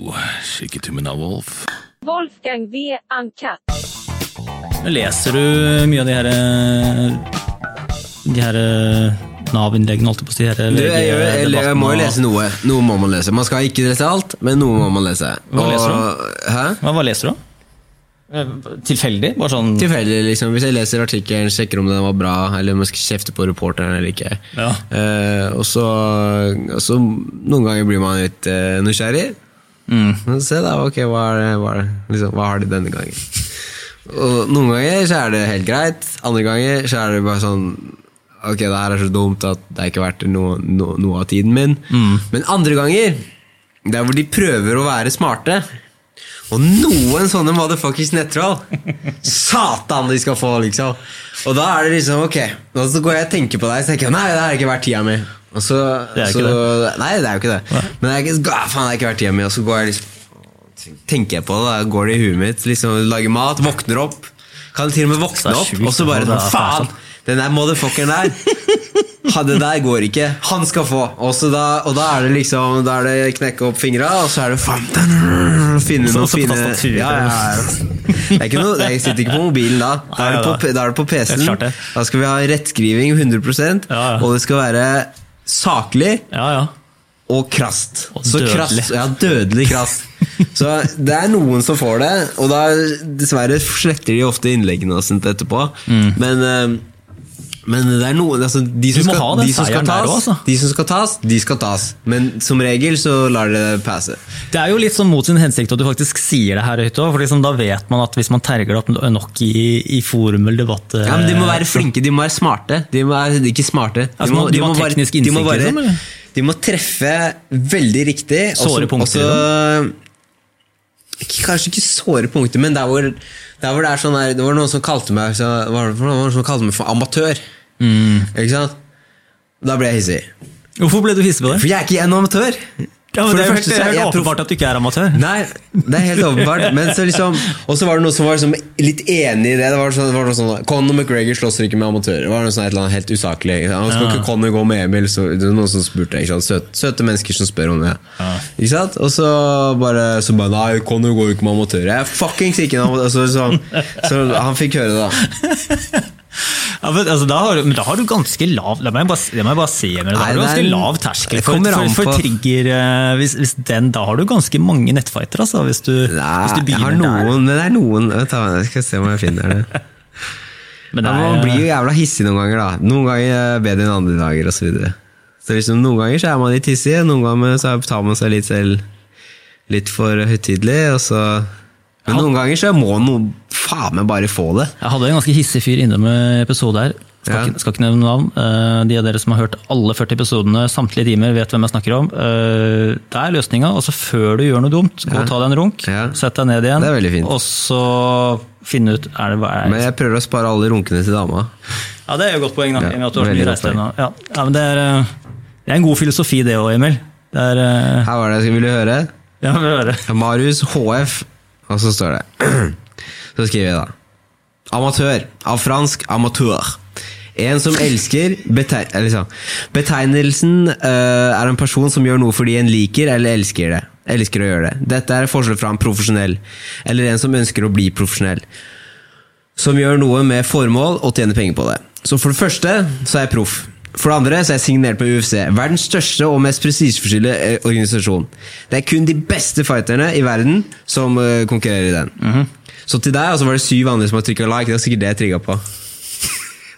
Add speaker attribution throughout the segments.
Speaker 1: Kikke til min av Wolf.
Speaker 2: Wolfgang V. Uncut.
Speaker 3: Leser du mye av de her eh, De her eh, Nav-innleggene, holdt jeg på å si? de her
Speaker 4: Du, jeg, gjør- jeg,
Speaker 3: VG-debatten
Speaker 4: jeg, må jo
Speaker 3: og-
Speaker 4: lese noe. Noe må man lese. Man skal ikke lese alt, men noe må man lese.
Speaker 3: Hva leser du?
Speaker 4: Hæ?
Speaker 3: Hva, hva leser du, da? Eh, Tilfeldig? Bare sånn
Speaker 4: Tilfeldig, liksom. Hvis jeg leser artikkelen, sjekker om den var bra, eller om jeg skal kjefte på reporteren eller ikke.
Speaker 3: Ja.
Speaker 4: Eh, og så, og så Noen ganger blir man litt eh, nysgjerrig.
Speaker 3: mm.
Speaker 4: Men Se da, ok, hva, er det, hva, er det, liksom, hva har de denne gangen? Og noen ganger så er det helt greit, andre ganger så er det bare sånn Ok, det her er så dumt at det er ikke verdt noe, noe, noe av tiden min.
Speaker 3: Mm.
Speaker 4: Men andre ganger, der hvor de prøver å være smarte Og noen sånne motherfuckers nettroll! Satan, de skal få, liksom! Og da er det liksom ok, og så går jeg og tenker på deg, så tenker jeg nei, det her er ikke verdt tida mi. Og så,
Speaker 3: Det er ikke
Speaker 4: så,
Speaker 3: det.
Speaker 4: Nei, det er jo ikke det. Men jeg, er ikke- ah, faen, det er ikke vært hjemme, og så går jeg liksom Tenker jeg på det, da går det i huet mitt. Liksom, lager mat, våkner opp. Kan til og med
Speaker 3: Det
Speaker 4: våkne
Speaker 3: er
Speaker 4: opp,
Speaker 3: sjukt, altså.
Speaker 4: og så bare
Speaker 3: det er
Speaker 4: sånn, Faen!
Speaker 3: faen.
Speaker 4: Den der motherfuckeren der. Ha, det der går ikke. Han skal få. Og, så da, og da er det liksom Da er det knekke opp fingra, og så er det faen Finne
Speaker 3: Så-
Speaker 4: noen
Speaker 3: så på
Speaker 4: fine
Speaker 3: tastaturet.
Speaker 4: ja, ja, ja. Det er ikke noe, jeg sitter ikke på mobilen da. Da er det
Speaker 3: Nei,
Speaker 4: på, da er det på
Speaker 3: Det
Speaker 4: PC-en.
Speaker 3: er klart det.
Speaker 4: Da skal vi ha rettskriving 100
Speaker 3: Ja, ja.
Speaker 4: og det skal være saklig
Speaker 3: Ja, ja.
Speaker 4: og krast.
Speaker 3: Og
Speaker 4: så
Speaker 3: dødelig.
Speaker 4: krast ja, dødelig krast. Så det er noen som får det, og da dessverre sletter de ofte innleggene og sånt etterpå.
Speaker 3: Mm.
Speaker 4: Men, eh, men det er noen altså, de, som
Speaker 3: må
Speaker 4: skal,
Speaker 3: ha den
Speaker 4: de, som
Speaker 3: seieren
Speaker 4: skal
Speaker 3: der
Speaker 4: tas,
Speaker 3: også, altså.
Speaker 4: de som skal tas, de skal tas. Men som regel så lar det passe.
Speaker 3: Det er jo litt sånn mot sin hensikt at du faktisk sier det her høyt òg. For liksom, da vet man at hvis man terger det opp nok i, i forum eller debatt eh,
Speaker 4: Ja, men De må være flinke, de må være smarte. De må være, ikke smarte. De
Speaker 3: Altså,
Speaker 4: må,
Speaker 3: man- de må ha teknisk
Speaker 4: de må
Speaker 3: innsikt, liksom, eller?
Speaker 4: de må treffe veldig riktig. og så-
Speaker 3: Såre punkter, liksom?
Speaker 4: og så- Ikke- Kanskje ikke såre punkter, men der hvor, der hvor det er sånn der, Det var noen som kalte meg, så, var det, for noen som kalte meg for amatør.
Speaker 3: Mm.
Speaker 4: Ikke sant? Da ble jeg hissig.
Speaker 3: Hvorfor ble du hissig på det?
Speaker 4: For jeg er ikke en amatør!
Speaker 3: Ja, men
Speaker 4: For
Speaker 3: det, er jo
Speaker 4: første
Speaker 3: helt-
Speaker 4: så er
Speaker 3: det er
Speaker 4: jeg
Speaker 3: helt
Speaker 4: proff-
Speaker 3: åpenbart at du ikke er amatør.
Speaker 4: Nei, det er helt åpenbart. Men så liksom, og så var det noen som var liksom litt enig i det. Det var, sånn, det var noe sånn Conor McGregor slåss ikke med amatører. Det var noe sånn et eller annet helt usaklig. Ikke sant? Og Skal ikke Conor gå med Emil? Så, det var noen som spurte. Ikke sant? Søte, søte mennesker som spør om det. Ikke sant? Og så bare, så bare Nei, Conor går jo ikke med amatører. Jeg er fuckings ikke en amatør. altså, Så, så, så han fikk høre det, da.
Speaker 3: Ja, men, altså, da har, du- men da har du ganske lav La meg bare, la meg bare si Emil, da
Speaker 4: Nei,
Speaker 3: har du
Speaker 4: det er
Speaker 3: ganske
Speaker 4: en-
Speaker 3: lav terskel
Speaker 4: det
Speaker 3: for,
Speaker 4: kommer
Speaker 3: for,
Speaker 4: an
Speaker 3: for
Speaker 4: på-
Speaker 3: trigger eh, hvis, hvis den, Da har du ganske mange nettfighter, altså, hvis du, hvis du
Speaker 4: Nei, jeg
Speaker 3: begynner
Speaker 4: har
Speaker 3: der.
Speaker 4: noen, men det er noen Vent, da, jeg skal se om jeg finner det.
Speaker 3: Men det
Speaker 4: Ja,
Speaker 3: er,
Speaker 4: men man blir jo jævla hissig noen ganger, da. Noen ganger eh, bedre enn andre dager, og Så, videre. så liksom, noen ganger så er man litt hissig, noen ganger så er- tar man seg litt selv litt for høytidelig, og så Men noen ganger så må noen faen meg bare få det.
Speaker 3: Jeg hadde en ganske hissig fyr innom en episode her. Skal,
Speaker 4: Ja.
Speaker 3: ikke, skal ikke nevne navn. Eh, de av dere som har hørt alle 40 episodene samtlige timer, vet hvem jeg snakker om. Eh, det er løsninga. Altså, før du gjør noe dumt, gå og ta deg en runk.
Speaker 4: Ja.
Speaker 3: Sett deg ned igjen.
Speaker 4: Det er veldig fint.
Speaker 3: Og så finne ut er det, hva er
Speaker 4: Men jeg prøver å spare alle runkene til dama.
Speaker 3: Ja, det er jo et godt poeng, da.
Speaker 4: Ja,
Speaker 3: i og med at du har så
Speaker 4: veldig
Speaker 3: mye
Speaker 4: godt
Speaker 3: reist ennå. Ja. ja, men det er, eh, det er en god filosofi, det òg, Emil. Det er eh,
Speaker 4: Her var det jeg ville høre.
Speaker 3: Ja, vi hører.
Speaker 4: Marius HF, og så står det Så skriver jeg da Amatør, av fransk amatør En som elsker betegn, eller liksom, Betegnelsen eh, er en person som gjør noe fordi en liker eller elsker det Elsker å gjøre det Dette er forskjell fra en profesjonell Eller en som ønsker å bli profesjonell som gjør noe med formål og tjener penger på det. Så for det første så er jeg proff. For det andre så er jeg signert med UFC, verdens største og mest prestisjefylte eh, organisasjon. Det er kun de beste fighterne i verden som eh, konkurrerer i den. Så til deg, og så var det syv andre som har trykka like, det er sikkert det jeg trigga på.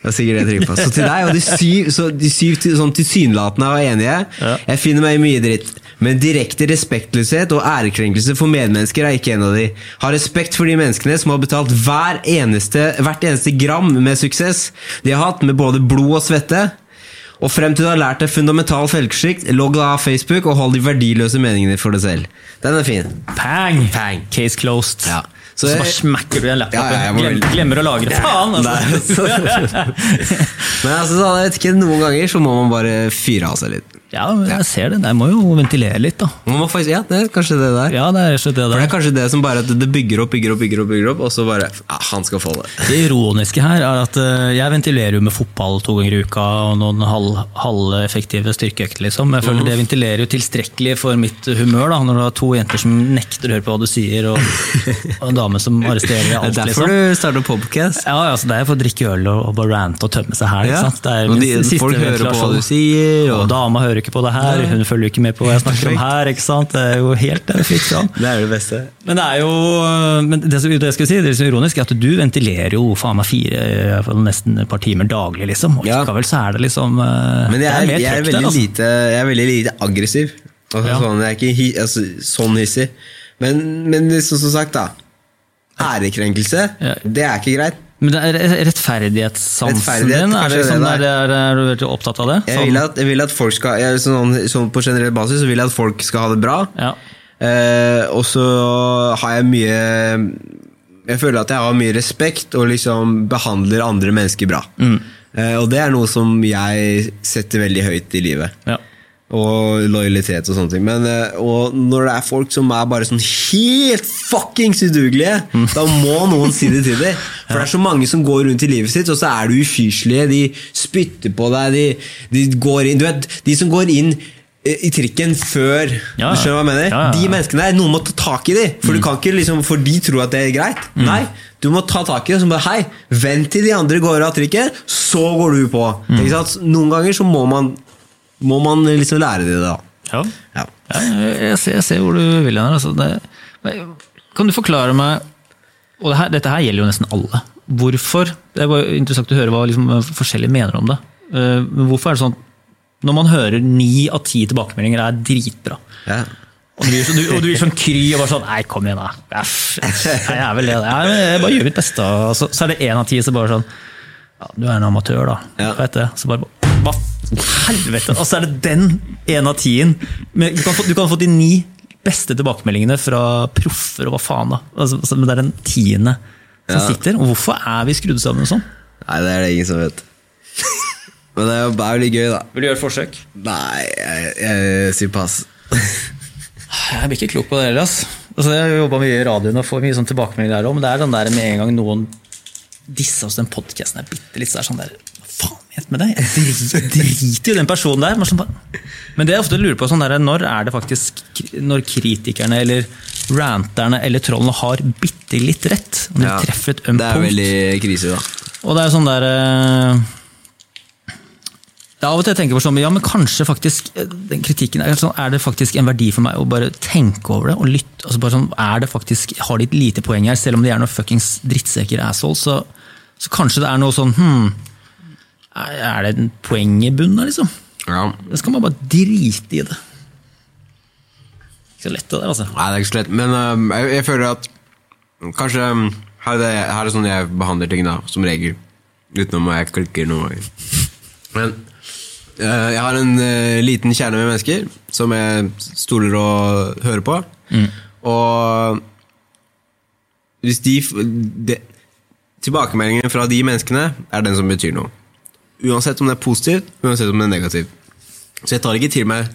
Speaker 4: Det er sikkert det jeg trigger på. Så til deg og de syv, så de syv til, sånn tilsynelatende var enige.
Speaker 3: Ja.
Speaker 4: Jeg finner meg i mye dritt. Men direkte respektløshet og ærekrenkelse for medmennesker er ikke en av de. Ha respekt for de menneskene som har betalt hver eneste, hvert eneste gram med suksess de har hatt, med både blod og svette. Og frem til du har lært deg fundamental selvforsikt, logg deg av Facebook og hold de verdiløse meningene for deg selv. Den er fin.
Speaker 3: Pang!
Speaker 4: Pang.
Speaker 3: Case closed.
Speaker 4: Ja.
Speaker 3: Så,
Speaker 4: Så
Speaker 3: bare
Speaker 4: jeg-
Speaker 3: smacker du igjen laptopen.
Speaker 4: Ja, ja, jeg må
Speaker 3: Glem,
Speaker 4: vel-
Speaker 3: glemmer å lagre. Faen, altså!
Speaker 4: Men altså, sånn, jeg vet ikke, noen ganger så må man bare fyre av seg litt.
Speaker 3: Ja, men jeg ser det. Jeg må jo ventilere litt, da.
Speaker 4: Man må faktisk, ja, det er kanskje det der.
Speaker 3: Ja, det er rett og slett det
Speaker 4: For det er
Speaker 3: der.
Speaker 4: kanskje det som bare at det bygger opp, bygger opp, bygger opp, bygger opp, og så bare ja, Han skal få det.
Speaker 3: Det ironiske her er at eh, jeg ventilerer jo med fotball to ganger i uka og noen halv- halveffektive styrkeøkter, liksom. Jeg
Speaker 4: Mm.
Speaker 3: føler det ventilerer jo tilstrekkelig for mitt eh, humør, da, når du har to jenter som nekter å høre på hva du sier, og, og en dame som arresterer deg i
Speaker 4: Det er
Speaker 3: alt,
Speaker 4: derfor
Speaker 3: liksom.
Speaker 4: du starter podcast.
Speaker 3: Ja, altså, det er for å drikke øl og, og bare rante og tømme seg her.
Speaker 4: Ja.
Speaker 3: Ikke sant? Det er
Speaker 4: Og
Speaker 3: min
Speaker 4: de-
Speaker 3: siste
Speaker 4: folk hører på hva
Speaker 3: ventilasjon.
Speaker 4: du sier.
Speaker 3: Og
Speaker 4: Og,
Speaker 3: dama hører ikke på det her, hun følger ikke med på hva jeg snakker om her. ikke sant? Det er jo helt eh, fritt fram.
Speaker 4: det er det beste.
Speaker 3: Men det er jo men det, som- det jeg skulle si, det som er ironisk, er at du ventilerer jo faen meg fire, i hvert fall nesten et par timer daglig, liksom. Og
Speaker 4: Ja.
Speaker 3: likevel så er det liksom eh,
Speaker 4: Men
Speaker 3: det
Speaker 4: jeg er,
Speaker 3: mer
Speaker 4: jeg,
Speaker 3: trøkk
Speaker 4: er
Speaker 3: der,
Speaker 4: veldig
Speaker 3: altså.
Speaker 4: lite, jeg er veldig lite aggressiv. Altså,
Speaker 3: Ja.
Speaker 4: sånn, jeg er ikke hi, altså, sånn hissig. Men, men liksom, som sagt, da. Ærekrenkelse,
Speaker 3: Ja.
Speaker 4: det er ikke greit.
Speaker 3: Men det er rettferdighetssansen
Speaker 4: Rettferdighet,
Speaker 3: din, er,
Speaker 4: kanskje
Speaker 3: det liksom,
Speaker 4: det
Speaker 3: der, er, er du veldig opptatt av det? Sånn-
Speaker 4: Jeg vil at, jeg vil at folk skal jeg, sånn, sånn På generell basis så vil jeg at folk skal ha det bra.
Speaker 3: ja.
Speaker 4: Eh, og så har jeg mye Jeg føler at jeg har mye respekt og liksom behandler andre mennesker bra.
Speaker 3: Mm.
Speaker 4: Eh, og det er noe som jeg setter veldig høyt i livet.
Speaker 3: Ja.
Speaker 4: Og lojalitet og sånne ting. Men eh, og når det er folk som er bare sånn helt fuckings udugelige,
Speaker 3: Mm.
Speaker 4: da må noen si det til dem. For det er så mange som går rundt i livet sitt, og så er de ufyselige. De spytter på deg. De, de går inn Du vet, de som går inn eh, i trikken før
Speaker 3: Ja, ja.
Speaker 4: Du skjønner hva jeg mener?
Speaker 3: Ja, ja, ja.
Speaker 4: De menneskene der, noen må ta tak i dem.
Speaker 3: Mm.
Speaker 4: For du kan ikke liksom For de tror at det er greit. Nei, du må ta tak i det. Så bare hei, vent til de andre går av trikken, så går du på.
Speaker 3: Mm.
Speaker 4: Ikke sant? Noen ganger så må man må man liksom lære det, da.
Speaker 3: Ja.
Speaker 4: Ja.
Speaker 3: Ja, jeg, jeg, ser, jeg ser hvor du vil hen. her, Altså. Det, men kan du forklare meg og det her, Dette her gjelder jo nesten alle. Hvorfor Det var jo interessant å høre hva liksom, forskjellige mener om det. Eh, Men hvorfor er det sånn når man hører ni av ti tilbakemeldinger er dritbra,
Speaker 4: Ja.
Speaker 3: og du blir, så, du, og du blir sånn kry og bare sånn Nei, kom igjen, da. Æff, Jeg er vel det. Nei, men Jeg bare gjør mitt beste. Og så, så er det én av ti som bare sånn ja, Du er en amatør, da.
Speaker 4: Ja.
Speaker 3: Jeg Vet det. Så bare Hva helvete? Og så er det den én av tien. Men du kan, få, du kan få de ni beste tilbakemeldingene fra proffer og hva faen, da. Altså, så- men det er den tiende som
Speaker 4: Ja.
Speaker 3: sitter. Og hvorfor er vi skrudd sammen sånn?
Speaker 4: Nei, det er det ingen som vet. Men det er jo bare litt gøy, da.
Speaker 3: Vil du gjøre et forsøk?
Speaker 4: Nei, jeg, jeg sier pass.
Speaker 3: Jeg blir ikke klok på det heller. ass. Altså, jeg har jobba mye i radioen og får mye sånn tilbakemeldinger der òg, men det er den der med en gang noen disser oss den podkasten er bitte litt, så er det sånn der Hva faen het med det? Jeg dri- driter jo i den personen der. men Sånn, bare- men det jeg ofte lurer på, sånn der, når er det faktisk k- Når kritikerne eller ranterne eller trollene har bitte litt rett? Når de
Speaker 4: Ja.
Speaker 3: treffer et ømt
Speaker 4: Det er
Speaker 3: punkt?
Speaker 4: veldig krise, da.
Speaker 3: Og det er sånn der eh, det er Av og til jeg tenker på sånn, ja, men kanskje faktisk eh, den kritikken er, sånn, er det faktisk en verdi for meg å bare tenke over det og lytte? altså bare sånn, er det faktisk, Har de et lite poeng her, selv om de er noen fuckings drittsekker assholes? Så, så kanskje det er noe sånn hmm, Er er det en poeng i bunnen, da, liksom?
Speaker 4: Ja.
Speaker 3: Da skal man bare drite i det. Ikke så lett, det der, altså.
Speaker 4: Nei, det er ikke så lett. Men øhm, jeg, jeg føler at kanskje øhm, her, er det, her er det sånn jeg behandler ting, da, som regel. Utenom at jeg klikker noen ganger. Men øh, jeg har en øh, liten kjerne med mennesker som jeg stoler og hører på. Og hvis de, f- de Tilbakemeldingen fra de menneskene er den som betyr noe. Uansett om det er positivt, uansett om det er negativt. Så jeg tar ikke til meg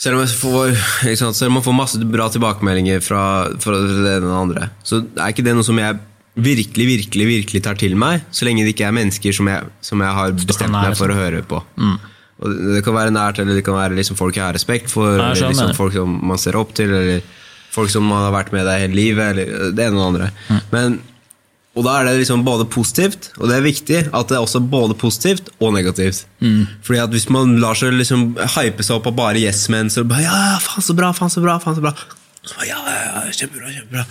Speaker 4: selv om, jeg får, ikke sant, selv om man får masse bra tilbakemeldinger fra, fra det ene og det andre, så er ikke det noe som jeg virkelig, virkelig virkelig tar til meg, så lenge det ikke er mennesker som jeg, som jeg har bestemt
Speaker 3: nær, liksom. Mm.
Speaker 4: meg for å høre på. Og det- det kan være nært, eller det kan være liksom folk jeg har respekt for,
Speaker 3: Ja, jeg skjønner
Speaker 4: eller
Speaker 3: hva du
Speaker 4: liksom
Speaker 3: mener.
Speaker 4: folk som man ser opp til, eller folk som har vært med deg hele livet, eller øh, det ene og det andre. Men, og da er det liksom både positivt, og det er viktig at det er også både positivt og negativt. Fordi at hvis man lar seg liksom hype seg opp av bare yes-men, så bare ja, ja, faen så bra, faen så bra, faen så bra. Så bare, Ja, ja, ja, kjempebra, kjempebra.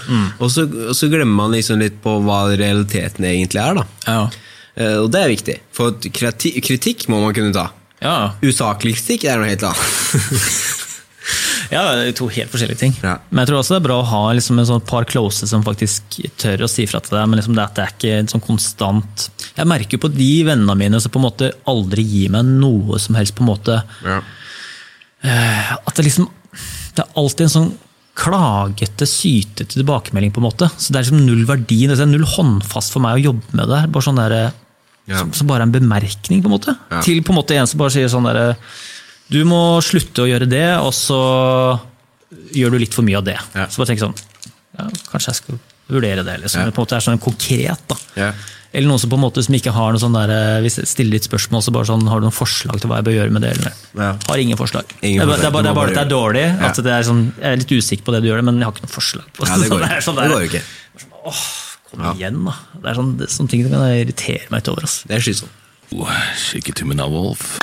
Speaker 4: Og, så, og så glemmer man liksom litt på hva realiteten egentlig er, da.
Speaker 3: Ja,
Speaker 4: Eh, Og det er viktig, for at kriti- kritikk må man kunne ta.
Speaker 3: ja.
Speaker 4: Usaklig kritikk er noe helt annet.
Speaker 3: Ja, det er to helt forskjellige ting.
Speaker 4: Ja.
Speaker 3: Men jeg tror også det er bra å ha liksom en sånn par close som faktisk tør å si fra til deg, men liksom det at det er ikke en sånn konstant Jeg merker jo på de vennene mine som på en måte aldri gir meg noe som helst, på en måte
Speaker 4: ja.
Speaker 3: At det liksom Det er alltid en sånn klagete, sytete tilbakemelding, på en måte. Så det er liksom null verdi, det er null håndfast for meg å jobbe med det her. Bare sånn der,
Speaker 4: Ja.
Speaker 3: som, som bare er en bemerkning, på en måte.
Speaker 4: Ja.
Speaker 3: Til på en måte en som bare sier sånn derre Du må slutte å gjøre det, og så gjør du litt for mye av det.
Speaker 4: Ja.
Speaker 3: Så bare tenk sånn ja, Kanskje jeg skal vurdere det. Liksom.
Speaker 4: Ja.
Speaker 3: Det på en måte er sånn konkret. da.
Speaker 4: Ja.
Speaker 3: Eller noen som på en måte som ikke har noe sånn der, eh, hvis jeg stiller litt spørsmål, så bare sånn, har du noen forslag til hva jeg bør gjøre med det? Eller?
Speaker 4: Ja.
Speaker 3: Har ingen forslag. det, er,
Speaker 4: Ingen
Speaker 3: bare-
Speaker 4: forslag.
Speaker 3: det, er bare, det
Speaker 4: Du må
Speaker 3: er bare at det er dårlig.
Speaker 4: Ja.
Speaker 3: At det er sånn, jeg er litt usikker på det du gjør, men jeg har ikke noe forslag. på
Speaker 4: Ja, det
Speaker 3: Så
Speaker 4: går ikke.
Speaker 3: er sånn
Speaker 4: Det
Speaker 3: der,
Speaker 4: går jo ikke.
Speaker 3: Kom igjen, da. Det er sånn, det, sånne ting som kan irritere meg litt over. ass.
Speaker 4: Det er slitsomt.
Speaker 1: Shake it to me now, Wolf.